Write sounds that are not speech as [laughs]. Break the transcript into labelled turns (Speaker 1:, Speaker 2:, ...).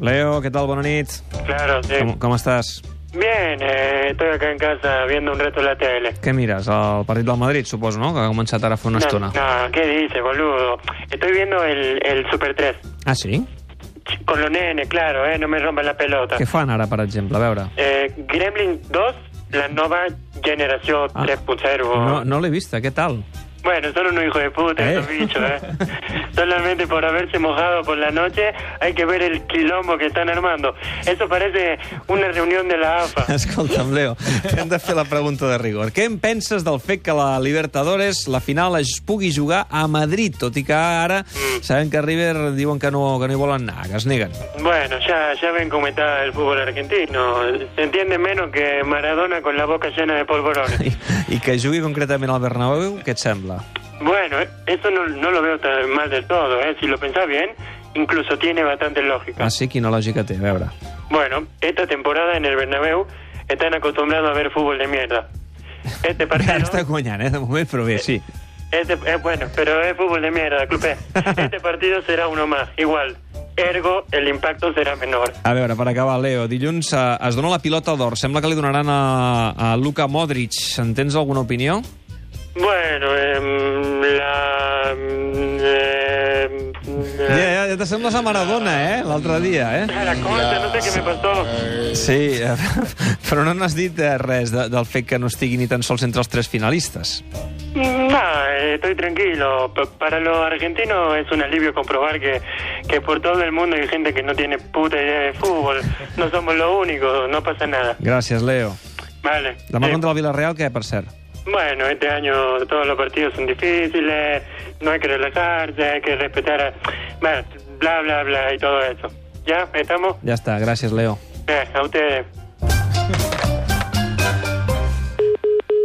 Speaker 1: Navarro, ¿qué tal? Buenas noches.
Speaker 2: Claro, sí.
Speaker 1: ¿Cómo, cómo estás?
Speaker 2: Bien, eh, estoy acá en casa viendo un rato la tele.
Speaker 1: Què mires? El partit del Madrid, suposo, no? Que ha començat ara fa una
Speaker 2: no,
Speaker 1: estona.
Speaker 2: no, ¿qué dice, boludo? Estoy viendo el, el Super 3.
Speaker 1: Ah, sí?
Speaker 2: Ch- Con los nenes, claro, eh, no me rompan la pelota.
Speaker 1: Què fan ara, per exemple? A veure.
Speaker 2: Eh, Gremlin 2, la nueva generación
Speaker 1: Ah.
Speaker 2: 3.0.
Speaker 1: No, no l'he vista, què tal?
Speaker 2: Bueno, son unos hijos de puta
Speaker 1: ¿Eh?
Speaker 2: esos bichos, ¿eh? Solamente por haberse mojado por la noche hay que ver el quilombo que están armando. Eso parece una reunión de la AFA.
Speaker 1: [laughs] Escolta'm, Leo, hem de fer la pregunta de rigor. Què en penses del fet que la Libertadores, la final, es pugui jugar a Madrid, tot i que ara sabem que River diuen que no, que no hi volen anar, que es neguen. [laughs]
Speaker 2: Bueno, ya, ya ven cómo está el fútbol argentino. Se entiende menos que Maradona con la boca llena de polvorones.
Speaker 1: I, i que jugui concretament al Bernabéu, què et sembla?
Speaker 2: Bueno, eh, eso no, no lo veo tan mal del todo, ¿eh? Si lo pensás bien, incluso tiene bastante lògica.
Speaker 1: Ah, sí? Quina lògica té, a veure.
Speaker 2: Bueno, esta temporada en el Bernabéu están acostumbrados a ver fútbol de mierda.
Speaker 1: [laughs]
Speaker 2: Este
Speaker 1: Ara
Speaker 2: partido...
Speaker 1: està guanyant, eh, de moment, però bé, sí.
Speaker 2: Este, eh, bueno, pero es fútbol de mierda,
Speaker 1: [laughs]
Speaker 2: clupe. Este partido será uno más, igual. Ergo, el impacto será menor.
Speaker 1: A veure, per acabar, Leo, dilluns eh, es dona la pilota d'or. Sembla que li donaran a, a Luka Modric. En tens alguna opinió?
Speaker 2: Bueno, em, la... em, em,
Speaker 1: Ja, ja, ja t'assembles a Maradona, eh? L'altre dia, eh?
Speaker 2: a la concha, no sé qué me pasó.
Speaker 1: Sí, eh, [laughs] però no n'has dit eh, res de, del fet que no estigui ni tan sols entre els tres finalistes.
Speaker 2: No, eh, estoy tranquilo. P- para los argentinos es un alivio comprobar que, que por todo el mundo hay gente que no tiene puta idea de fútbol. No somos los únicos, no pasa nada.
Speaker 1: Gràcies, Leo.
Speaker 2: Vale.
Speaker 1: Demà
Speaker 2: Eh,
Speaker 1: contra el Villarreal, què, per cert?
Speaker 2: Bueno, este año todos los partidos son difíciles, no hay que relajarse, hay que respetar, a- bueno, bla, bla, bla y todo eso. ¿Ya? ¿Estamos?
Speaker 1: Ja està, gràcies, Leo.
Speaker 2: Eh, a ustedes.